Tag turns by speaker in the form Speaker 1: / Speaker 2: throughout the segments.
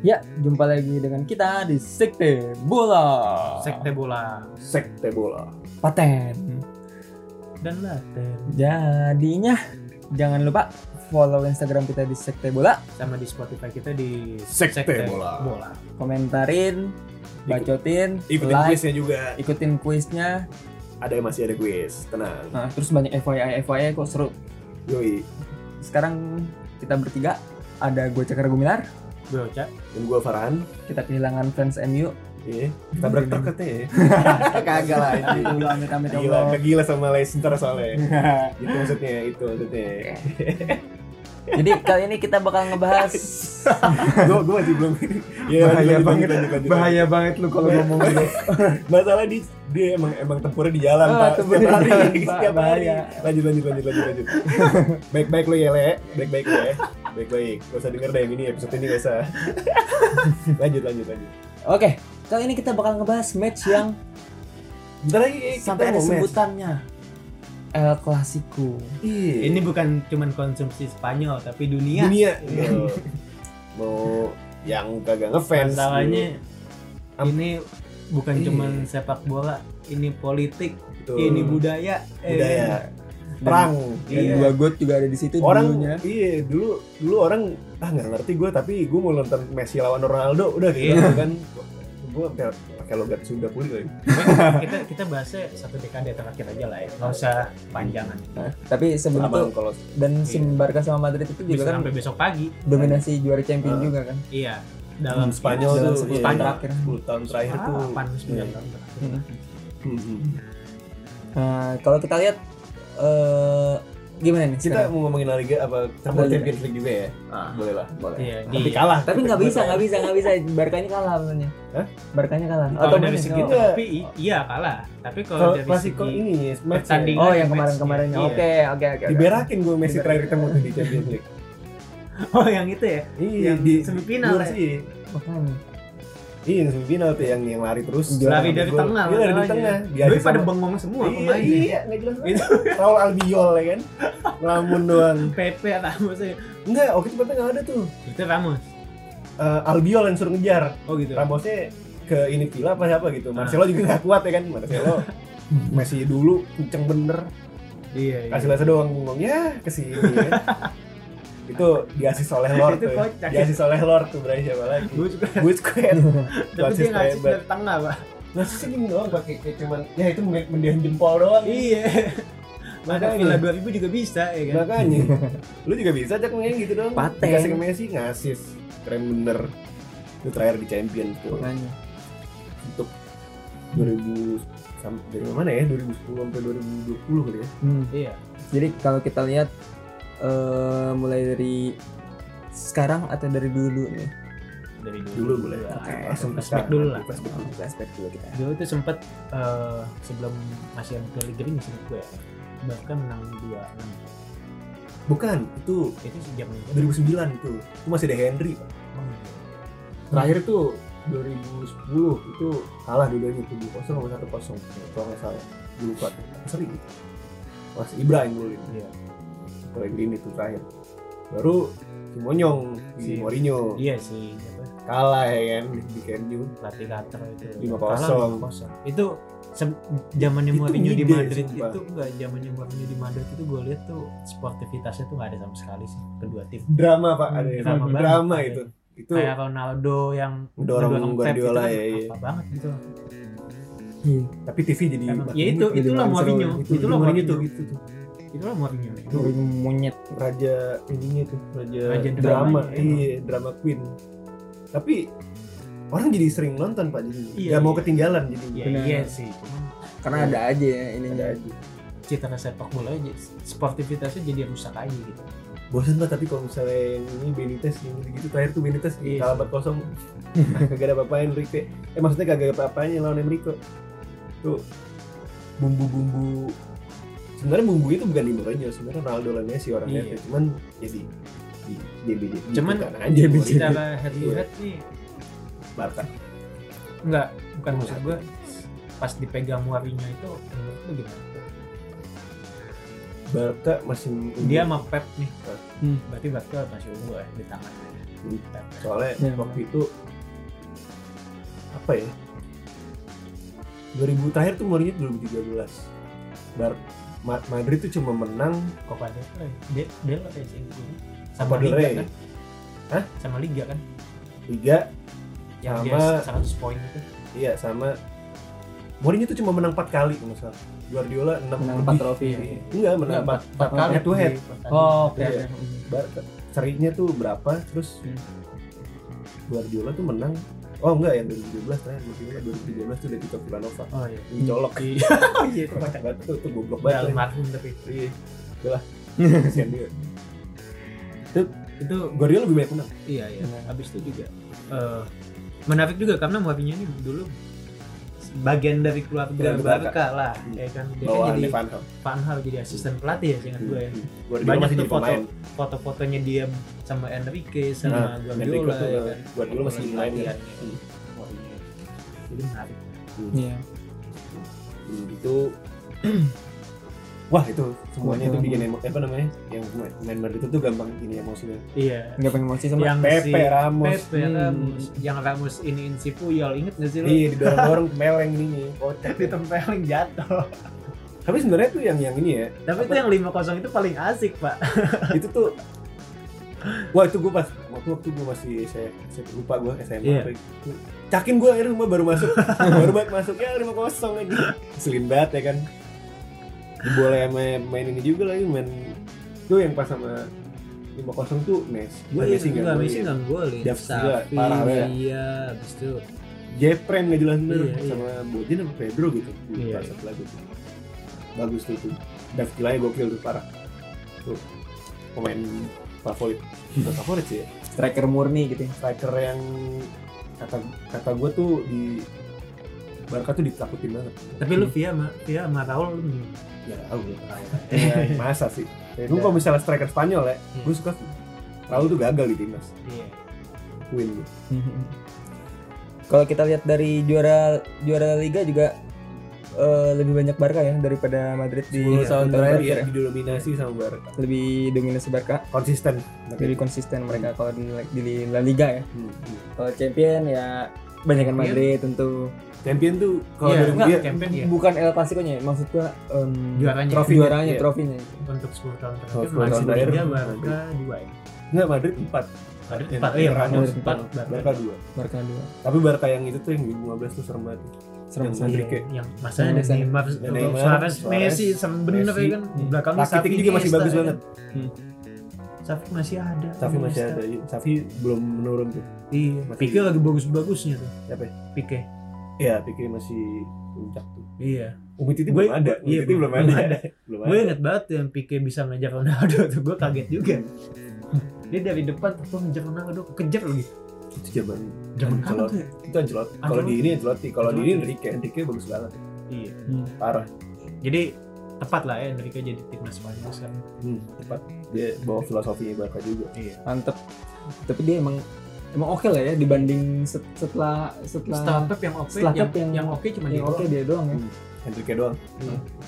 Speaker 1: Ya, jumpa lagi dengan kita di Sekte Bola.
Speaker 2: Sekte bola
Speaker 3: Ah. Sekte bola.
Speaker 1: Paten.
Speaker 2: dan laten
Speaker 1: Jadinya jangan lupa follow Instagram kita di Sekte Bola,
Speaker 2: sama di Spotify kita di
Speaker 3: Sekte Bola.
Speaker 1: komentarin, bacotin,
Speaker 3: Ikutin
Speaker 1: like,
Speaker 3: kuisnya juga.
Speaker 1: ikutin kuisnya.
Speaker 3: Ada yang masih ada kuis. Tenang.
Speaker 1: Nah, terus banyak FYI FYI kok seru.
Speaker 3: Yoi.
Speaker 1: Sekarang kita bertiga ada gue Cakar Gumilar,
Speaker 2: Gue Oca.
Speaker 3: Dan gue Farhan.
Speaker 1: kita kehilangan fans MU.
Speaker 3: Iya. Tabrak
Speaker 1: Hmm.
Speaker 3: truk katanya ya. Kagak lah. anjing.
Speaker 1: Aduh, amit-amit
Speaker 3: Gila,
Speaker 1: Allah.
Speaker 3: kegila sama Leicester soalnya. itu maksudnya, itu maksudnya.
Speaker 1: Jadi kali ini kita bakal ngebahas
Speaker 3: Gue gue masih belum. Iya,
Speaker 1: bahaya
Speaker 3: lanjut, lanjut,
Speaker 1: banget,
Speaker 3: lanjut, lanjut.
Speaker 1: bahaya banget lu kalau ngomong gitu.
Speaker 3: Masalah di dia emang emang tempurnya di jalan,
Speaker 1: Ah,
Speaker 3: Pak.
Speaker 1: tempurnya di
Speaker 3: Setiap hari,
Speaker 1: jalan, Pak.
Speaker 3: setiap hari.
Speaker 1: Bahaya.
Speaker 3: Lanjut lanjut lanjut lanjut lanjut. Baik-baik lo ya, Le. Baik-baik lo ya. Baik-baik. Gak usah denger deh yang ini episode ini gak usah. lanjut lanjut lanjut.
Speaker 1: Oke, kali ini kita bakal ngebahas match yang
Speaker 3: Bentar lagi eh, kita
Speaker 1: sampai ada
Speaker 3: mau mes.
Speaker 1: sebutannya El Clasico.
Speaker 3: Iya.
Speaker 2: Ini bukan cuman konsumsi Spanyol tapi dunia.
Speaker 3: dunia. Tuh. mau yang kagak ngefans.
Speaker 2: Masalahnya
Speaker 3: Am-
Speaker 2: ini bukan
Speaker 3: Iya.
Speaker 2: cuman sepak bola, ini politik,
Speaker 3: Betul.
Speaker 2: ini budaya. Eh,
Speaker 3: budaya. Perang.
Speaker 1: Dan
Speaker 2: Iya.
Speaker 1: dua god juga ada di situ
Speaker 3: Eh, orang
Speaker 1: dulunya.
Speaker 3: iya dulu dulu orang ah nggak ngerti gue tapi gue mau nonton Messi lawan Ronaldo udah gitu
Speaker 2: Iya.
Speaker 3: kan gue pakai logat Sunda pulih lagi
Speaker 2: nah, kita kita bahasnya satu dekade terakhir aja lah ya. Nggak usah panjangan.
Speaker 3: Iya,
Speaker 1: Nah, tapi sebelum itu
Speaker 3: Abang kalau
Speaker 1: dan
Speaker 3: Iya.
Speaker 1: sim Barca sama Madrid itu
Speaker 2: Bisa
Speaker 1: juga kan
Speaker 2: sampai besok pagi.
Speaker 1: dominasi juara champion
Speaker 3: Ah.
Speaker 1: juga kan.
Speaker 2: Iya. Dalam
Speaker 3: Hmm, Spanyol
Speaker 1: Dalam
Speaker 3: tuh
Speaker 1: 10
Speaker 3: iya,
Speaker 1: tahun terakhir.
Speaker 3: 10 tahun terakhir tuh
Speaker 2: Delapan, sembilan
Speaker 3: Iya.
Speaker 2: tahun terakhir.
Speaker 1: Hmm.
Speaker 3: Hmm.
Speaker 1: Nah, kalau kita lihat eh gimana nih?
Speaker 3: kita
Speaker 1: sekarang?
Speaker 3: mau ngomongin La Liga apa campur
Speaker 1: Boleh.
Speaker 3: Champions League juga ya boleh lah boleh
Speaker 2: Iya,
Speaker 3: tapi
Speaker 2: di-
Speaker 3: kalah
Speaker 1: tapi nggak bisa, nggak bisa, nggak bisa. Barkanya kalah sebenarnya.
Speaker 3: Hah?
Speaker 1: Barkanya kalah.
Speaker 2: Kalau dari
Speaker 1: mungkin-
Speaker 2: segi
Speaker 3: oh.
Speaker 2: tapi i- iya kalah. Tapi kalau
Speaker 3: kalau
Speaker 2: dari
Speaker 3: klasiko
Speaker 2: segi
Speaker 3: ini Oh,
Speaker 2: pertandingan,
Speaker 1: Oh, yang kemarin-kemarin.
Speaker 2: Iya.
Speaker 1: Oke, oke, oke. oke.
Speaker 3: diberakin gue Messi terakhir ketemu tuh di Champions League
Speaker 2: Oh, yang itu ya.
Speaker 3: iya
Speaker 2: Yang semifinal
Speaker 3: luar
Speaker 2: ya?
Speaker 3: sih.
Speaker 1: Makanya.
Speaker 3: iya yang semifinal tuh yang yang lari terus
Speaker 2: Lari dari
Speaker 3: Gol.
Speaker 2: tengah.
Speaker 3: iya lari dari
Speaker 2: masalahnya.
Speaker 3: tengah Dia
Speaker 2: Doi
Speaker 3: aja
Speaker 2: pada
Speaker 3: sama-
Speaker 2: bengong semua
Speaker 3: Iya,
Speaker 2: pemainnya.
Speaker 3: Iya, nggak jelas banget. Raul Albiol ya kan. Lamun doang.
Speaker 2: PP Ramos ya.
Speaker 3: Enggak, oke cepetnya nggak ada tuh.
Speaker 2: Itu Ramos.
Speaker 3: Eh, Albiol yang suruh ngejar.
Speaker 2: Oh gitu.
Speaker 3: Ramosnya ke ini Villa apa siapa gitu. Marcelo juga nggak kuat ya kan. Marcelo Messi dulu kenceng bener.
Speaker 2: Iya. iya.
Speaker 3: Kasih lasa doang ngomong ya ke sini. ya. Itu diasis oleh Lord
Speaker 2: Itu
Speaker 3: tuh. ya.
Speaker 2: kocak.
Speaker 3: Diasis oleh Lord tuh berarti siapa lagi?
Speaker 2: Gue juga
Speaker 3: Busquets.
Speaker 2: tapi dia
Speaker 3: Wasit
Speaker 2: ngasih
Speaker 3: hebat.
Speaker 2: dari tengah, Pak.
Speaker 3: Ngasisnya gini doang pakai kayak cuman ya itu men- mendiam jempol doang.
Speaker 2: Iya. Maka
Speaker 3: Makanya.
Speaker 2: Villa 2000 juga bisa ya kan.
Speaker 3: Makanya lu juga bisa cek main gitu dong.
Speaker 1: Paten.
Speaker 3: Dikasih ke Messi ngasis. Keren bener. Itu terakhir di champion tuh.
Speaker 1: Makanya.
Speaker 3: Untuk 2000 sam- dari mana ya? 2010 sampai 2020 kali ya.
Speaker 1: Hmm.
Speaker 2: Iya.
Speaker 1: Jadi kalau kita lihat eh mulai dari sekarang atau dari dulu nih?
Speaker 2: Dari
Speaker 3: Dulu boleh.
Speaker 2: Oke.
Speaker 3: Langsung ke
Speaker 2: Flashback
Speaker 3: sekarang.
Speaker 2: dulu lah.
Speaker 3: Flashback dulu.
Speaker 1: Kita aspek dulu kita.
Speaker 2: Dulu tuh sempet eh, sebelum masih ada Piala Gering sih gue. Bahkan menang 2
Speaker 3: Bukan, itu
Speaker 2: Itu sejak itu.
Speaker 3: 2009 itu. Itu masih ada Henry, Pak. Terakhir tuh 2010 itu kalah dua-duanya 7-0 sama 1-0. Kalau nggak salah. Gue Lupa. Seri gitu. Mas Ibra yang golin.
Speaker 2: Iya.
Speaker 3: Mulai Green itu terakhir baru si Monyong si
Speaker 2: Si-
Speaker 3: Mourinho
Speaker 2: Iya sih, apa?
Speaker 3: kalah ya kan di Camp Nou
Speaker 2: Latih later itu.
Speaker 3: 5-0.
Speaker 2: Kalah 5-0. Itu sem- zamannya
Speaker 3: Itu
Speaker 2: Mourinho di
Speaker 3: ngide,
Speaker 2: Madrid
Speaker 3: sumpah.
Speaker 2: itu enggak zamannya Mourinho di Madrid itu gue lihat tuh sportivitasnya tuh nggak ada sama sekali sih kedua tim.
Speaker 3: drama pak ada yang
Speaker 2: Drama
Speaker 3: drama,
Speaker 2: banget.
Speaker 3: itu itu
Speaker 2: Kayak Ronaldo yang
Speaker 3: Mendorong
Speaker 2: mendorong Pep itu
Speaker 3: Guardiola,
Speaker 2: kan
Speaker 3: ya, iya.
Speaker 2: Apa banget gitu.
Speaker 3: tapi TV jadi
Speaker 2: Emang-
Speaker 3: makin
Speaker 2: ya itu,
Speaker 3: jadi
Speaker 2: itulah
Speaker 3: makin seru.
Speaker 2: Mourinho,
Speaker 3: itu,
Speaker 2: itulah
Speaker 3: itulah Mourinho gitu.
Speaker 2: Mourinho.
Speaker 3: tuh itu tuh
Speaker 2: Itulah Mourinho.
Speaker 1: Dulu monyet.
Speaker 3: raja ininya tuh raja,
Speaker 2: Raja
Speaker 3: drama
Speaker 2: dramanya,
Speaker 3: iya drama queen tapi orang jadi sering nonton pak jadi
Speaker 2: Iya,
Speaker 3: nggak mau
Speaker 2: iya.
Speaker 3: ketinggalan jadi
Speaker 2: Iya,
Speaker 1: Benar.
Speaker 2: iya sih. Cuman
Speaker 1: Karena ada aja ya ini
Speaker 3: Ada
Speaker 1: aja.
Speaker 3: aja.
Speaker 2: citra sepak bola aja sportivitasnya jadi rusak aja gitu.
Speaker 3: bosan lah tapi kalau misalnya yang ini Benitez yang gitu, terakhir tuh Benitez
Speaker 2: Iya.
Speaker 3: kalah 4 kosong kagak ada apa-apa Enrique eh maksudnya kagak ada apa-apanya lawan Enrico tuh bumbu-bumbu sebenarnya bumbu itu bukan di Mourinho sebenarnya Ronaldo dan Messi orangnya
Speaker 2: Iya.
Speaker 3: tuh. cuman jadi JBD
Speaker 2: Cuman iya,
Speaker 1: JBD.
Speaker 2: secara head to head
Speaker 3: Iya.
Speaker 2: nih
Speaker 3: Barca
Speaker 2: enggak bukan
Speaker 3: Iya.
Speaker 2: maksud gue pas dipegang Mourinho itu menurut lu gimana?
Speaker 3: Barca masih unggul.
Speaker 2: Dia sama Pep nih.
Speaker 1: Hmm.
Speaker 2: Berarti Barca masih unggul ya di tangan. Pep.
Speaker 3: soalnya
Speaker 1: Ya.
Speaker 3: waktu itu apa ya 2000 terakhir tuh Mourinho 2013 Bar Ma- Madrid tuh cuma menang
Speaker 2: Copa del Rey. De- Del Rey sih ini. Sama
Speaker 3: Copa del Rey.
Speaker 2: Liga kan?
Speaker 3: Hah?
Speaker 2: Sama Liga kan?
Speaker 3: tiga
Speaker 2: Yang
Speaker 3: Sama-
Speaker 2: dia 100 poin itu.
Speaker 3: iya sama Mourinho tuh cuma menang 4 kali kalau nggak salah Guardiola 6
Speaker 1: Menang empat trofi.
Speaker 3: enggak menang 4
Speaker 2: Empat kali
Speaker 3: head to head.
Speaker 1: iya. Oh, oke.
Speaker 3: Iya.
Speaker 1: oke.
Speaker 3: Barca serinya tuh berapa terus
Speaker 1: Hmm.
Speaker 3: Guardiola tuh menang oh enggak yang 2017 terakhir Guardiola 2013 tuh dari Tito Villanova
Speaker 2: Oh iya.
Speaker 3: dicolok
Speaker 2: Oh iya itu kocak.
Speaker 3: banget tuh, tuh goblok
Speaker 2: Udah
Speaker 3: banget
Speaker 2: almarhum tapi
Speaker 3: Iya, udah lah. Kasihan dia. Itu, itu Guardiola lebih banyak menang.
Speaker 2: iya iya.
Speaker 1: Iya.
Speaker 2: Habis itu juga eh, menarik juga karena Mourinho ini dulu bagian dari keluarga
Speaker 3: Keluarga Barca.
Speaker 2: Barca lah.
Speaker 3: Hmm.
Speaker 2: Ya kan dia kan
Speaker 3: Bawaan
Speaker 2: jadi
Speaker 3: Van Gaal.
Speaker 2: Van Hal jadi asisten pelatih ya seingat gue ya.
Speaker 3: Hmm. Guardiola
Speaker 2: Banyak
Speaker 3: masih
Speaker 2: tuh
Speaker 3: jadi pemain.
Speaker 2: Foto-fotonya dia sama Enrique sama
Speaker 3: Enrique
Speaker 2: Guardiola
Speaker 3: tuh,
Speaker 2: ya
Speaker 3: eh,
Speaker 2: kan.
Speaker 3: Guardiola masih
Speaker 2: Foto
Speaker 3: main, kan?
Speaker 2: latihannya.
Speaker 3: Hmm.
Speaker 2: Mourinho. Jadi menarik.
Speaker 1: Iya.
Speaker 3: Hmm, itu Wah itu semuanya
Speaker 1: Kebetulan.
Speaker 3: itu bikin emo apa namanya yang pemain- pemain Madrid itu gampang ini emosinya.
Speaker 2: Iya.
Speaker 1: Enggak pengen emosi sama.
Speaker 2: Yang si
Speaker 3: Pepe Ramos,
Speaker 2: Pepe
Speaker 1: Hmm.
Speaker 2: Ramos, yang Ramos iniin si Puyol, inget gak sih lu?
Speaker 3: iya didorong-dorong meleng ini, kocak. ya.
Speaker 2: ditempelin jatuh.
Speaker 3: Tapi sebenarnya tuh yang yang ini ya,
Speaker 2: Tapi itu yang 5-0 itu paling asik, Pak.
Speaker 3: itu tuh wah itu gue pas waktu waktu gue masih saya, saya lupa gue SMA
Speaker 2: Iya.
Speaker 3: apa itu. cakin gue akhirnya rumah baru masuk baru banget masuk ya lima kosong lagi selin banget ya kan boleh main, main ini juga lagi main itu yang pas sama lima kosong tuh mes gue
Speaker 2: Iya,
Speaker 3: Messi nggak
Speaker 2: enggak,
Speaker 3: gue
Speaker 2: Messi enggak golin.
Speaker 3: Dav juga
Speaker 2: Safi,
Speaker 3: parah ya. banget.
Speaker 2: Iya, habis itu
Speaker 3: Jepren nggak jelas bener
Speaker 2: Iya, iya.
Speaker 3: sama Bodin sama Pedro gitu
Speaker 2: Iya.
Speaker 3: pas satu lagu tuh. bagus tuh tuh Dav Gilanya gokil tuh parah tuh pemain favorit Bukan favorit sih ya
Speaker 1: striker murni gitu. ya.
Speaker 3: striker yang kata kata gue tuh di Barca tuh ditakutin banget.
Speaker 2: tapi
Speaker 3: Hmm.
Speaker 2: lu via ma via sama Raul lu nih.
Speaker 3: ya tahu gue. Ya, masa sih? Gue kalau misalnya striker Spanyol ya, gue suka Raul tuh gagal di timnas.
Speaker 2: Iya.
Speaker 3: Win gitu.
Speaker 1: Kalau kita lihat dari juara juara liga juga eh, lebih banyak Barca ya daripada Madrid di
Speaker 3: Sepuluh
Speaker 1: tahun
Speaker 3: tahun terakhir
Speaker 1: terakhir
Speaker 3: ya,
Speaker 1: ya.
Speaker 2: iya.
Speaker 3: didominasi sama Barca.
Speaker 1: Lebih dominasi Barca,
Speaker 3: Konsisten.
Speaker 1: lebih konsisten mereka kalau di, di La Liga ya.
Speaker 3: Hmm, hmm.
Speaker 1: Kalau champion ya banyakan
Speaker 2: Champion.
Speaker 1: Madrid tentu.
Speaker 3: Champion tuh kalau
Speaker 2: Iya,
Speaker 3: dari
Speaker 2: enggak,
Speaker 3: dia
Speaker 2: champion ya.
Speaker 1: Bukan El Clasico-nya, ya, maksud gua em, trofi
Speaker 2: Juaranya.
Speaker 3: Trofinya,
Speaker 1: juaranya,
Speaker 3: iya.
Speaker 1: trofinya.
Speaker 2: Untuk 10 tahun
Speaker 3: Kalau
Speaker 2: terakhir
Speaker 3: 10 Oh, tahun
Speaker 2: masih
Speaker 3: terakhir,
Speaker 2: tiga
Speaker 3: Madrid.
Speaker 2: Barca dua ya.
Speaker 3: nggak Madrid 4,
Speaker 2: Madrid
Speaker 3: Iya,
Speaker 2: empat, iya
Speaker 3: Ramos
Speaker 2: Ramos
Speaker 1: empat,
Speaker 2: empat,
Speaker 3: Barca
Speaker 2: Barca
Speaker 3: 2.
Speaker 1: Barca dua.
Speaker 3: Tapi Barca yang itu tuh yang 2015 tuh serem banget.
Speaker 1: Serem
Speaker 3: Yang
Speaker 1: sih.
Speaker 3: Madrid. Enrique.
Speaker 2: yang masanya
Speaker 1: Yang
Speaker 2: ada Neymar,
Speaker 3: Ada Neymar,
Speaker 2: Suarez,
Speaker 3: Iya. Suarez,
Speaker 2: Messi, sama bener
Speaker 3: Messi.
Speaker 2: ya kan
Speaker 1: Hmm.
Speaker 2: belakangnya
Speaker 3: Rakitic juga masih
Speaker 2: Iniesta,
Speaker 3: bagus
Speaker 2: ya kan?
Speaker 3: banget.
Speaker 1: Hmm.
Speaker 2: Safi masih ada.
Speaker 3: Safi masih
Speaker 2: Iniesta.
Speaker 3: ada. iya. Safi belum menurun tuh.
Speaker 2: Iya.
Speaker 3: Masih-
Speaker 2: Pique lagi bagus-bagusnya tuh.
Speaker 3: Siapa ya?
Speaker 2: Pique.
Speaker 3: Iya, pikir masih puncak tuh.
Speaker 2: Iya.
Speaker 3: Umi Titi
Speaker 2: Gue-
Speaker 3: belum ada. Umi
Speaker 2: iya,
Speaker 3: Titi belum
Speaker 2: belum
Speaker 3: ada.
Speaker 2: ada.
Speaker 3: Belum
Speaker 2: Gue inget banget tuh yang Pique bisa ngejar Ronaldo tuh. Gue kaget juga. Dia dari depan tuh ngejar Ronaldo kejar lagi.
Speaker 3: Itu jawaban.
Speaker 2: Zaman kapan
Speaker 3: Ancelotti.
Speaker 2: tuh? ya?
Speaker 3: Itu Ancelotti. Kalau di ini Ancelotti, kalau di ini Enrique. Enrique bagus banget.
Speaker 2: Iya.
Speaker 1: Hmm.
Speaker 3: Parah.
Speaker 2: Jadi tepat lah ya Enrique jadi timnas Spanyol sekarang.
Speaker 3: Hmm, tepat. Dia bawa filosofinya Barca juga.
Speaker 2: Iya.
Speaker 1: Mantep. Tapi dia emang emang oke lah ya dibanding set- setelah
Speaker 2: Setelah
Speaker 1: setelah
Speaker 2: Pep yang oke,
Speaker 1: setelah
Speaker 2: yang,
Speaker 1: Pep yang-
Speaker 2: yang oke cuma
Speaker 1: yang
Speaker 2: dia
Speaker 1: oke
Speaker 2: doang.
Speaker 1: dia doang ya.
Speaker 3: Enrique doang.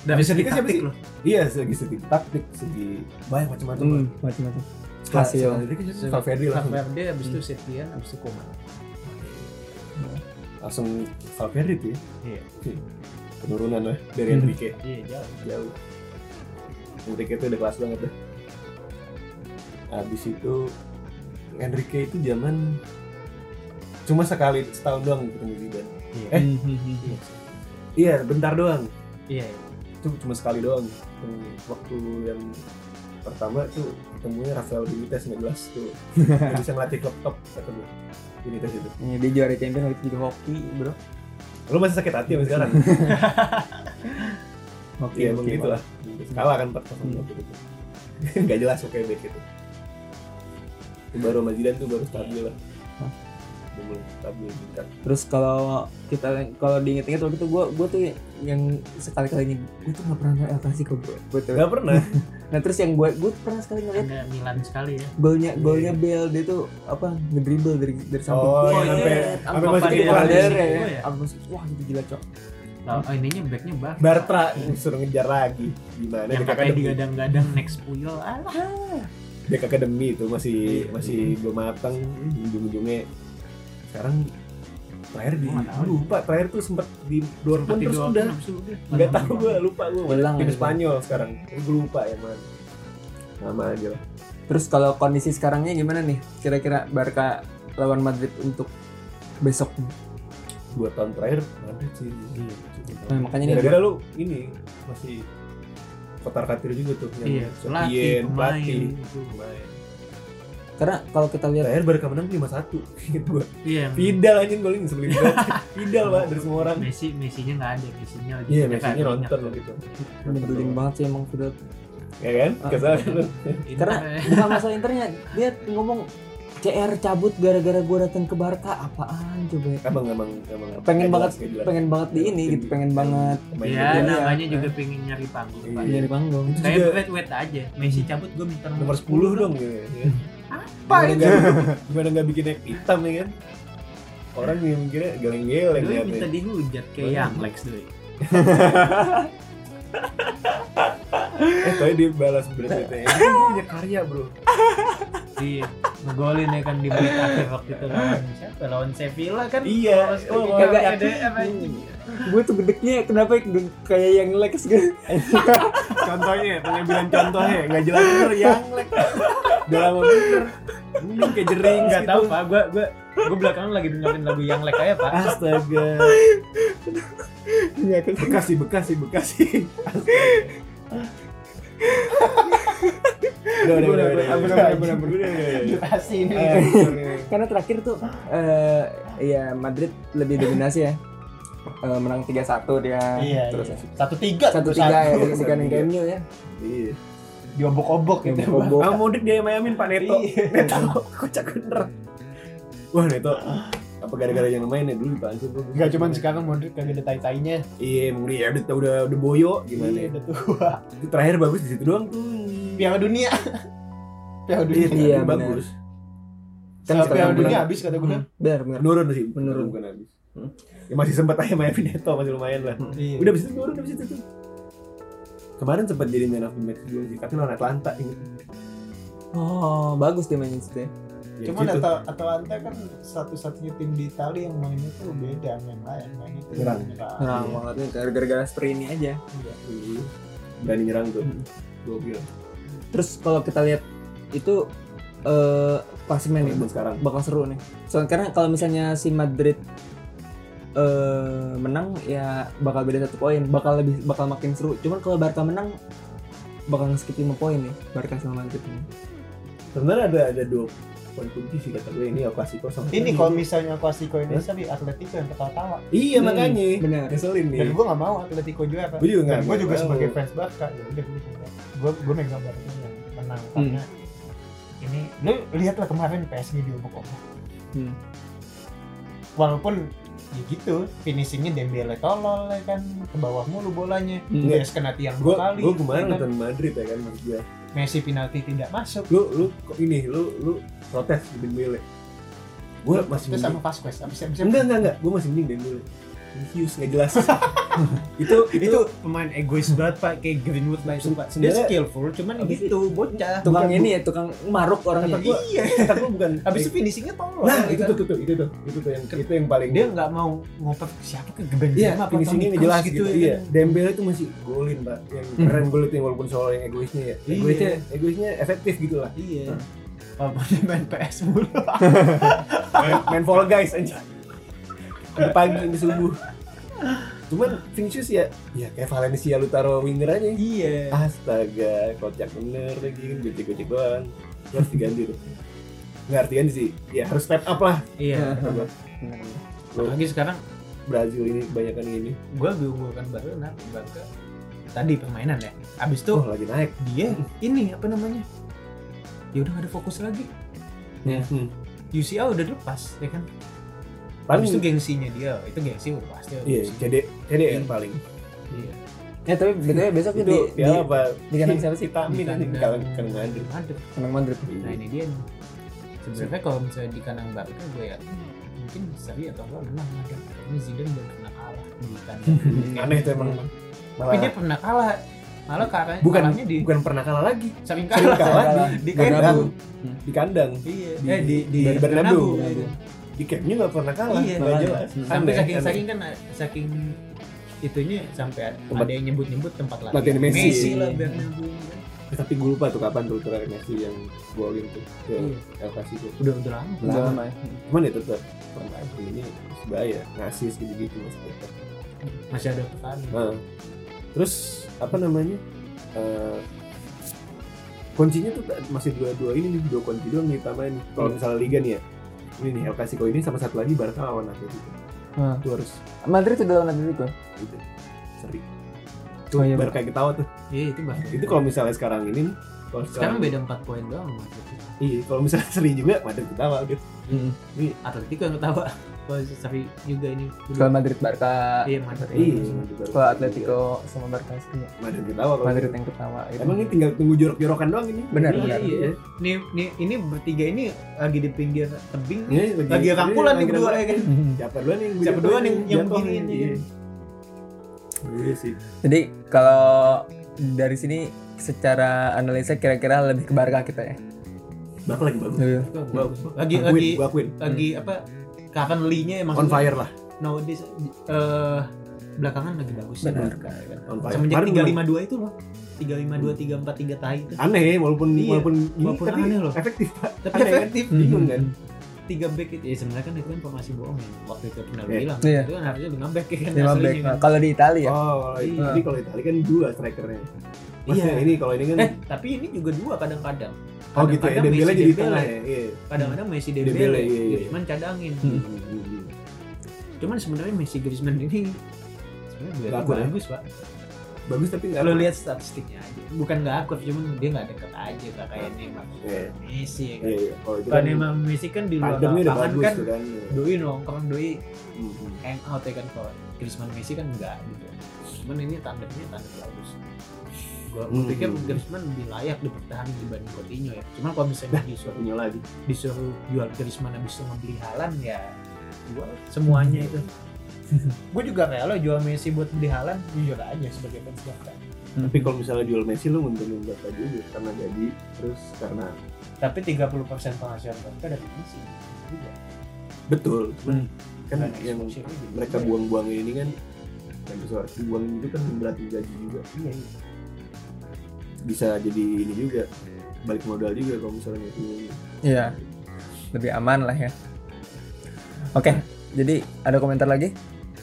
Speaker 2: Dari segi
Speaker 3: Enrique siapa
Speaker 2: taktik
Speaker 3: sih?
Speaker 2: loh.
Speaker 3: Iya, segi segi taktik, segi banyak macam-macam.
Speaker 1: Hmm, macam-macam.
Speaker 3: Setelah-
Speaker 1: hasil.
Speaker 3: setelah Enrique jadi Valverde langsung.
Speaker 2: Valverde abis itu Setien,
Speaker 3: Hmm.
Speaker 2: abis itu Koeman.
Speaker 3: Langsung Valverde tuh ya.
Speaker 2: Iya.
Speaker 3: Penurunan lah dari
Speaker 1: Hmm.
Speaker 3: Enrique.
Speaker 2: Iya, jauh.
Speaker 3: Jauh. Enrique tuh udah kelas banget deh. Habis itu Enrique itu zaman cuma sekali setahun doang ketemu Zidane.
Speaker 2: Iya.
Speaker 3: Eh.
Speaker 1: Hmm, hmm, hmm.
Speaker 2: Iya.
Speaker 3: Iya, bentar doang.
Speaker 2: Iya.
Speaker 3: itu cuma sekali doang Hmm, waktu yang pertama tuh ketemunya Rafael Benitez nggak jelas tuh Nggak bisa ngelatih klub top kata gue Benitez itu
Speaker 1: Ini Iya, dia juara champion waktu itu juga hoki, Bro.
Speaker 3: lo masih sakit hati sama sekarang
Speaker 1: Hoki.
Speaker 3: iya emang
Speaker 1: hoki,
Speaker 3: gitu lah kalah kan 4 0 waktu itu nggak jelas oke baik itu Itu baru sama Zidane tuh baru stabil lah
Speaker 1: Hah?
Speaker 3: Udah mulai stabil bintang
Speaker 1: Terus kalau kita kalau diinget-inget waktu itu gua gua tuh yang sekali-kali ini gua tuh gak pernah nonton El Clasico, Bro. Betul.
Speaker 3: nggak pernah
Speaker 1: Nah terus yang gue gue pernah sekali ngeliat
Speaker 2: Ada Milan sekali ya.
Speaker 1: golnya
Speaker 3: Iya.
Speaker 1: golnya Bell dia tuh apa ngedribble dari dari samping.
Speaker 3: Oh,
Speaker 1: Wah,
Speaker 2: iya,
Speaker 1: itu
Speaker 2: sampai-
Speaker 1: net,
Speaker 3: sampai
Speaker 1: apa dia
Speaker 3: masuk ke Iya, depan.
Speaker 1: nyadar
Speaker 2: Oh,
Speaker 1: ya.
Speaker 2: iya.
Speaker 1: Apa sih? Wah itu gila cok.
Speaker 2: Nah, oh, ininya backnya bar.
Speaker 3: Bartra suruh ngejar lagi gimana
Speaker 2: Yang
Speaker 3: Dek
Speaker 2: pakai
Speaker 3: Akademi
Speaker 2: digadang-gadang next puyol. Alah.
Speaker 3: Kan Dek Akademi itu masih
Speaker 2: Iya.
Speaker 3: masih belum matang ujung-ujungnya sekarang terakhir di
Speaker 2: Gua nggak tahu.
Speaker 3: Aduh, lupa terakhir tuh sempet di luar pun
Speaker 2: Seperti
Speaker 3: terus
Speaker 2: doang,
Speaker 3: udah
Speaker 2: nafsu udah. Iya.
Speaker 3: nggak tahu gue lupa gue
Speaker 1: Hilang
Speaker 3: tim
Speaker 1: gitu.
Speaker 3: Spanyol sekarang gue lupa ya mana nama aja lah
Speaker 1: Terus kalau kondisi sekarangnya gimana nih? Kira-kira Barca lawan Madrid untuk besok?
Speaker 3: dua tahun terakhir Madrid sih Iya, cukup.
Speaker 1: Nah, makanya nih
Speaker 3: gara-gara lu ini masih kotar katir juga tuh
Speaker 2: Iya, pelatih,
Speaker 3: Setien,
Speaker 2: pemain.
Speaker 3: pelatih
Speaker 2: gitu.
Speaker 1: karena kalau kita lihat
Speaker 3: terakhir Barca menang 5-1 Ingat gua.
Speaker 2: Iya. yang-
Speaker 3: Pidal anjing golin sebelum itu Pidal pak dari semua orang
Speaker 2: Messi, Messinya nggak ada, Messinya lagi.
Speaker 3: Iya,
Speaker 2: cedera,
Speaker 3: Messi
Speaker 2: ingat.
Speaker 3: nonton gitu.
Speaker 1: nyebelin banget Ah. sih emang sudah
Speaker 3: Ya kan? Kesalahan lu.
Speaker 2: Inter-
Speaker 1: Karena bukan masalah internya, dia ngomong CR cabut gara-gara gue datang ke Barca apaan coba ya?
Speaker 3: Emang emang emang
Speaker 1: Pengen
Speaker 3: kayak
Speaker 1: banget,
Speaker 3: jelas, kayak Iya. jelas.
Speaker 1: pengen banget di ini gitu, pengen banget
Speaker 3: Pemain
Speaker 2: Ya,
Speaker 3: gitu.
Speaker 1: Iya,
Speaker 2: namanya
Speaker 1: iya.
Speaker 2: juga pengen nyari panggung.
Speaker 3: Iya.
Speaker 2: Pak.
Speaker 1: dari panggung.
Speaker 3: Itu
Speaker 2: Kayak
Speaker 3: juga
Speaker 2: wait wait aja. Messi cabut gue minta
Speaker 3: nomor 10 dong gitu ya.
Speaker 2: Apa
Speaker 3: Gimana
Speaker 2: itu?
Speaker 3: nggak- Gimana nggak bikin yang hitam ya kan? Orang yang mikirnya
Speaker 1: Iya,
Speaker 2: Gue
Speaker 3: geleng-geleng
Speaker 2: minta
Speaker 3: liatnya.
Speaker 2: dihujat kayak
Speaker 3: Boleh.
Speaker 2: yang Lex doi.
Speaker 3: Eh, tapi dia balas beritanya. Ini kan gua punya karya, Bro.
Speaker 2: Iya, ngegolin ya kan di menit akhir waktu itu lawan siapa? Lawan Sevilla kan.
Speaker 3: Iya.
Speaker 2: Pas gua mau
Speaker 1: oh, Kagak.
Speaker 2: EDM anjing.
Speaker 1: Gue tuh gedeknya kenapa gede- kayak yang Lex gitu.
Speaker 3: Contohnya, pengambilan contohnya nggak jelas bener yang lek. Udah lama bener. Mungkin kayak jering
Speaker 2: Enggak
Speaker 3: gitu.
Speaker 2: tahu Pak, gua gua gua belakangan lagi dengerin lagu yang Lex aja, Pak.
Speaker 3: Astaga.
Speaker 1: Iya kan.
Speaker 3: Bekasi, Bekasi, Bekasi. Udah, udah, udah, udah,
Speaker 1: Ampun,
Speaker 3: udah,
Speaker 1: ampun,
Speaker 3: udah,
Speaker 1: ampun, ampun.
Speaker 3: udah, udah, udah.
Speaker 2: Pasti ini.
Speaker 3: Eh, sorry.
Speaker 1: Karena terakhir tuh eh ya Madrid lebih dominasi ya. Eh, menang 3-1 dia.
Speaker 2: Iya,
Speaker 1: terus
Speaker 2: iya. Satu tiga,
Speaker 1: satu tiga ya
Speaker 3: Satu-satu.
Speaker 1: dari sekarang ke MU ya.
Speaker 3: Iya.
Speaker 2: diobok-obok
Speaker 1: Yang
Speaker 2: gitu.
Speaker 1: bobok.
Speaker 3: Sama mudik dia mayamin Pak Neto.
Speaker 2: Iya.
Speaker 3: Neto, kocak bener. Wah Neto, apa gara-gara yang main ya dulu Pak Ansu?
Speaker 2: Enggak cuman sekarang Modric kagak ada tai-tainya.
Speaker 3: Iya, mungkin ya udah udah udah boyo gimana ya.
Speaker 2: Iya, udah tua.
Speaker 3: Itu terakhir bagus di situ doang tuh.
Speaker 2: Piala dunia. Piala dunia.
Speaker 3: Iya,
Speaker 1: Iya,
Speaker 3: terakhir
Speaker 1: benar.
Speaker 3: bagus.
Speaker 1: Kan
Speaker 2: Setelah
Speaker 1: sekarang
Speaker 2: Piala dunia
Speaker 1: bulan- Hmm.
Speaker 2: habis kata gue.
Speaker 1: Benar benar.
Speaker 3: Menurun sih,
Speaker 1: Menurun.
Speaker 3: bukan habis.
Speaker 1: Hmm.
Speaker 3: Ya masih sempat aja mayamin Neto masih lumayan lah.
Speaker 2: Iya.
Speaker 3: Udah abis itu turun abis itu tuh. Kemarin sempat jadi man of the match juga sih, tapi lawan Atlanta inget.
Speaker 1: Oh, bagus dia mainin situ ya.
Speaker 3: Ya,
Speaker 4: Cuman
Speaker 3: gitu.
Speaker 4: Atal Atalanta kan satu-satunya tim di Italia yang mainnya tuh beda sama yang lain. Mainnya tuh
Speaker 3: Nyerang.
Speaker 4: menyerang.
Speaker 2: Iya.
Speaker 1: Nah, banget gara-gara seperti ini aja.
Speaker 3: Iya. Berani nyerang tuh.
Speaker 2: Hmm.
Speaker 3: Gokil.
Speaker 1: Terus kalau kita lihat itu eh klasemen nih
Speaker 3: Buat sekarang.
Speaker 1: bakal seru nih. Soalnya karena kalau misalnya si Madrid eh menang ya bakal beda satu poin, bakal lebih bakal makin seru. Cuman kalau Barca menang bakal nge-skip 5 poin nih Barca sama Madrid ini.
Speaker 3: Sebenarnya ada ada dua poin kunci sih kata gue ini El Clasico sama
Speaker 4: Ini kalau misalnya Clasico Indonesia di Atletico yang ketawa-tawa.
Speaker 3: Iya
Speaker 1: Hmm,
Speaker 3: makanya.
Speaker 1: benar.
Speaker 3: Keselin nih.
Speaker 4: Dan gue gak mau Atletico juara.
Speaker 3: Gue Iya. juga nggak-
Speaker 4: Gue juga
Speaker 3: nggak
Speaker 4: sebagai
Speaker 3: mau.
Speaker 4: fans Barca. Ya udah gue gue megang Barca yang menang
Speaker 3: Hmm.
Speaker 4: karena ini lu lihatlah kemarin PSG diobok-obok.
Speaker 1: Hmm.
Speaker 4: Walaupun ya gitu, finishingnya Dembele tolol ya kan ke bawah mulu bolanya.
Speaker 1: Hmm.
Speaker 4: Terus kena tiang
Speaker 3: Gue
Speaker 4: dua kali.
Speaker 3: gue Iya. kemarin
Speaker 4: ya kan?
Speaker 3: nonton Madrid ya kan maksud gue.
Speaker 4: Messi penalti tidak masuk.
Speaker 3: Lu lu kok ini lu lu protes di Dembele. Gue masih
Speaker 4: Terus
Speaker 3: mending.
Speaker 4: sama Vasquez habis habis
Speaker 3: Hmm. Enggak enggak enggak. Gue masih mending Dembele. Infuse nggak jelas. itu itu
Speaker 2: itu pemain egois banget pak kayak Greenwood lah itu pak dia
Speaker 3: Sebenarnya-
Speaker 2: skillful cuman
Speaker 3: Abis
Speaker 2: gitu bocah
Speaker 1: Tukang
Speaker 3: Bukan,
Speaker 1: ini ya tukang maruk orangnya.
Speaker 3: Kata gua-
Speaker 2: iya
Speaker 3: kata gue bukan.
Speaker 2: abis itu finishingnya tolol
Speaker 3: Nah
Speaker 2: ya
Speaker 3: itu
Speaker 2: kan?
Speaker 3: tuh itu tuh itu tuh itu tuh yang itu yang paling
Speaker 2: dia nggak mau ngoper siapa ke Benzema
Speaker 3: Iya,
Speaker 2: apa
Speaker 3: finishingnya
Speaker 2: Toni
Speaker 3: nggak jelas
Speaker 2: Kroos
Speaker 3: gitu,
Speaker 2: ya
Speaker 3: iya.
Speaker 2: kan?
Speaker 3: Dembele tuh masih golin, Pak. Yang
Speaker 1: Hmm.
Speaker 3: keren gol itu yang walaupun soal yang egoisnya ya.
Speaker 2: Iya.
Speaker 3: Egoisnya, egoisnya efektif gitu lah.
Speaker 2: iya walaupun dia main PS mulu
Speaker 3: Main, main Fall Guys aja. Di pagi, di subuh. Cuman finishers ya, ya kayak Valencia lu taruh winger aja.
Speaker 2: iya
Speaker 3: Astaga, kocak bener lagi kan gocek-gocek doang. Lu Harus diganti tuh. Nggak harus diganti sih. Ya harus step up lah.
Speaker 2: iya
Speaker 3: Lu
Speaker 2: lagi sekarang
Speaker 3: Brazil ini kebanyakan ini.
Speaker 2: gue diunggulkan kan baru kenapa Barca tadi permainan ya abis itu
Speaker 3: Tuh Oh, lagi naik.
Speaker 2: dia ini apa namanya ya udah nggak ada fokus lagi
Speaker 3: Hmm.
Speaker 2: UCL udah lepas ya kan
Speaker 3: Paling
Speaker 2: abis itu gengsinya dia itu gengsi udah pasti
Speaker 3: Iya, CD, CD yang ya, paling.
Speaker 2: Iya.
Speaker 1: Ya tapi betulnya besok
Speaker 3: itu
Speaker 1: di, di,
Speaker 3: piala apa
Speaker 1: di kandang siapa sih?
Speaker 3: vitamin anjing
Speaker 2: kandang.
Speaker 3: kalau kan Madrid
Speaker 2: Madrid.
Speaker 1: Kandang Madrid.
Speaker 2: Nah ini dia nih. Sebenarnya kalau misalnya di kandang Barca gue ya mungkin seri atau enggak menang Madrid. Ini Zidane belum pernah kalah di kandang.
Speaker 1: Hmm.
Speaker 3: aneh tuh emang
Speaker 2: Tapi dia
Speaker 3: malah
Speaker 2: pernah kalah. Malah karena
Speaker 3: Bukan.
Speaker 2: kalahnya di
Speaker 3: bukan pernah kalah lagi
Speaker 2: sering kalah.
Speaker 3: sering kalah di, di kandang
Speaker 1: Bernabeu.
Speaker 3: di kandang
Speaker 2: Iya.
Speaker 3: Di-
Speaker 2: Eh di di
Speaker 3: di Bernabeu.
Speaker 2: Bernabeu.
Speaker 3: di campnya nggak pernah kalah
Speaker 2: Iya,
Speaker 3: nggak
Speaker 1: makanya.
Speaker 3: jelas
Speaker 1: Hmm.
Speaker 2: Sampai
Speaker 3: Aneh,
Speaker 2: saking
Speaker 3: aneh.
Speaker 2: saking kan saking itunya sampai
Speaker 3: Tempat-
Speaker 2: ada yang nyebut-nyebut tempat lain.
Speaker 3: Latihan Messi.
Speaker 2: lah Bernabeu.
Speaker 3: tapi gue lupa tuh kapan tuh terakhir Messi yang golin tuh ke
Speaker 2: Iya.
Speaker 3: El Clasico
Speaker 2: Udah udah lama.
Speaker 1: Udah lama ya.
Speaker 3: cuman ya tetap Madrid ini sebaya ngasih segitu gitu masih tetap
Speaker 2: Masih ada pertandingan.
Speaker 3: Nah, terus apa namanya? Eh, kuncinya tuh masih dua-dua ini nih, dua kunci doang nih tambahin. Kalau
Speaker 2: Iya.
Speaker 3: misalnya liga nih ya. Ini nih El Clasico ini sama satu lagi Barca lawan Atletico.
Speaker 1: Hmm.
Speaker 3: Itu harus
Speaker 1: Madrid udah lawan Atletico.
Speaker 3: gitu. Seri.
Speaker 1: Oh iya.
Speaker 3: Barca ketawa tuh.
Speaker 2: Iya itu bahkan.
Speaker 3: Itu kalau misalnya sekarang ini nih, kalau
Speaker 2: Sekarang beda 4 poin doang Madrid.
Speaker 3: Iya, kalau misalnya seri juga Madrid ketawa gitu.
Speaker 1: Hmm.
Speaker 2: Atletico yang ketawa. Kalau Sari juga ini.
Speaker 1: Kalau Madrid Barca.
Speaker 2: Iya Madrid.
Speaker 3: Iya,
Speaker 1: Kalau Atletico sama Barca sih.
Speaker 3: Madrid ketawa kalau.
Speaker 1: Madrid yang gitu. ketawa. itu.
Speaker 3: Emang ini tinggal tunggu jorok-jorokan doang ini.
Speaker 1: Benar,
Speaker 2: Iya,
Speaker 1: benar.
Speaker 2: iya. Nih, nih, ini bertiga ini lagi di pinggir tebing.
Speaker 3: Iya,
Speaker 2: Lagi rangkulan nih
Speaker 3: lagi
Speaker 2: berdua
Speaker 3: rangkulan.
Speaker 2: ya kan.
Speaker 3: Siapa duluan yang
Speaker 2: Siapa duluan yang yang begini
Speaker 3: begini
Speaker 2: ini.
Speaker 3: Iya sih.
Speaker 1: Jadi kalau dari sini secara analisa kira-kira lebih ke Barca kita ya.
Speaker 3: Bak lagi bagus.
Speaker 1: Lebih-
Speaker 2: Bagus. Lagi
Speaker 3: Gua
Speaker 2: lagi
Speaker 3: akuin, gua akuin.
Speaker 2: lagi apa? Currently-nya emang
Speaker 3: On fire lah.
Speaker 2: Nowadays eh, belakangan lagi bagus.
Speaker 1: Benar.
Speaker 3: On fire.
Speaker 2: Semenjak
Speaker 3: Kemarin belum-
Speaker 2: 352 itu loh.
Speaker 3: Hmm.
Speaker 2: 352 343 tai itu.
Speaker 3: aneh ya, walaupun
Speaker 2: Iya.
Speaker 3: walaupun ini
Speaker 2: Walaupun
Speaker 3: tapi
Speaker 2: aneh loh.
Speaker 3: efektif Pak.
Speaker 2: Tapi
Speaker 3: Aneh kan?
Speaker 2: efektif.
Speaker 3: Bingung
Speaker 1: Hmm.
Speaker 3: kan?
Speaker 2: tiga back itu ya sebenarnya kan itu kan formasi bohong ya waktu itu pernah
Speaker 3: Iya.
Speaker 2: bilang
Speaker 1: Iya.
Speaker 2: itu kan harusnya lima back ya kan
Speaker 1: Lima
Speaker 2: aslinya
Speaker 1: back.
Speaker 2: kan.
Speaker 1: Nah, Kalau di Italia
Speaker 3: Oh, kalau itu-
Speaker 2: Iya.
Speaker 3: jadi kalau Itali kan dua strikernya.
Speaker 2: iya
Speaker 3: Maksudnya ini kalau ini kan
Speaker 2: eh tapi ini juga dua kadang-kadang
Speaker 3: oh gitu ya,
Speaker 2: kadang-kadang
Speaker 3: Dembele
Speaker 2: Messi
Speaker 3: jadi di
Speaker 2: Dembele.
Speaker 3: tengah ya. Iya.
Speaker 2: kadang-kadang Messi
Speaker 3: Dembele,
Speaker 2: Dembele,
Speaker 3: iya, iya.
Speaker 2: Griezmann cadangin
Speaker 1: Hmm.
Speaker 2: cuman sebenarnya Messi Griezmann ini sebenarnya dia
Speaker 3: Nggak akur ya?
Speaker 2: bagus pak
Speaker 3: Bagus tapi enggak.
Speaker 2: lo lihat statistiknya aja bukan nggak akur cuman dia nggak deket aja nggak kayak Neymar
Speaker 3: Iya.
Speaker 2: Messi ya kan
Speaker 3: Iya, iya. Kalau itu
Speaker 2: kalau
Speaker 3: kan
Speaker 2: Neymar Messi kan di luar
Speaker 3: tandemnya udah
Speaker 2: lapangan
Speaker 3: bagus
Speaker 2: kan
Speaker 3: tuh kan. Hmm,
Speaker 2: doi nongkrong doi
Speaker 3: Mm-mm.
Speaker 2: hang out ya kan kalau Griezmann Messi kan enggak gitu cuman ini tandemnya tandem bagus gua, gua
Speaker 3: Hmm.
Speaker 2: pikir Griezmann lebih layak dipertahankan dibanding Coutinho ya cuman kalau misalnya disuruh
Speaker 3: Punya lagi.
Speaker 2: disuruh jual Griezmann habis itu ngebeli Halan ya jual semuanya itu gue juga rela jual Messi buat beli Halan jujur aja sebagai fans Barca
Speaker 3: Tapi kalau misalnya jual Messi lu nguntungin berapa juga karena jadi terus karena
Speaker 2: tapi 30% penghasilan Barca dari Messi juga
Speaker 3: betul. cuman Kan
Speaker 2: Karena
Speaker 3: yang
Speaker 2: eksklusifnya juga.
Speaker 3: mereka buang-buang ini kan yang besar buang itu kan berarti gaji juga
Speaker 2: iya iya
Speaker 3: bisa jadi ini juga balik modal juga kalau misalnya itu
Speaker 1: Iya. Lebih aman lah ya. Oke, jadi ada komentar lagi?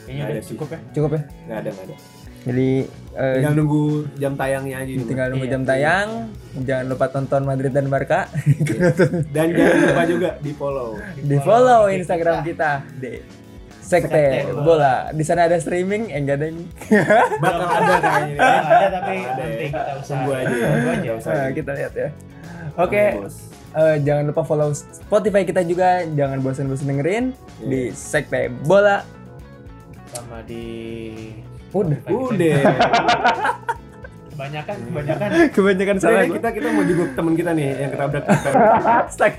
Speaker 5: Kayaknya
Speaker 3: Ada
Speaker 5: udah
Speaker 3: Nah, sih.
Speaker 5: cukup ya.
Speaker 1: Cukup ya.
Speaker 3: nggak ada nggak ada
Speaker 1: Jadi eh,
Speaker 3: tinggal nunggu jam tayangnya aja nih,
Speaker 1: tinggal nunggu
Speaker 5: Iya.
Speaker 1: jam tayang. Jangan lupa tonton Madrid dan Barca.
Speaker 3: Mas. dan jangan lupa juga di follow
Speaker 1: Di follow Instagram
Speaker 5: Iya,
Speaker 1: kita di Sekte
Speaker 2: Sekte
Speaker 1: Bola. Di sana ada streaming, eh, enggak ada yang
Speaker 3: bakal ada kayaknya nih.
Speaker 5: Nggak ada tapi
Speaker 3: Nggak ada
Speaker 5: nanti
Speaker 3: ya.
Speaker 5: kita usaha.
Speaker 3: tunggu aja ya.
Speaker 5: Tunggu aja.
Speaker 3: Nggak usah
Speaker 1: Nah,
Speaker 3: di-
Speaker 1: kita lihat ya.
Speaker 3: Sama
Speaker 1: Oke,
Speaker 3: bos.
Speaker 1: eh, jangan lupa follow Spotify kita juga. Jangan bosan-bosan dengerin di
Speaker 3: Iya.
Speaker 1: Sekte Bola.
Speaker 5: Sama di
Speaker 1: Udah.
Speaker 3: udah
Speaker 5: kebanyakan kebanyakan
Speaker 1: Kebanyakan
Speaker 3: Salah
Speaker 1: salah.
Speaker 3: kita kita mau jenguk teman kita nih yang ketabrak
Speaker 1: Astag.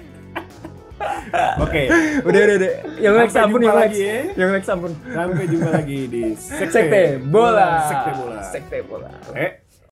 Speaker 3: oke
Speaker 1: Udah, udah, udah. Yang Lex
Speaker 3: Sampai
Speaker 1: ampun,
Speaker 3: jumpa
Speaker 1: yang Lex.
Speaker 3: lagi ya.
Speaker 1: Yang Lex ampun.
Speaker 3: sampai jumpa lagi di
Speaker 1: Sekte bola.
Speaker 3: sekte bola
Speaker 1: Sekte bola.
Speaker 3: eh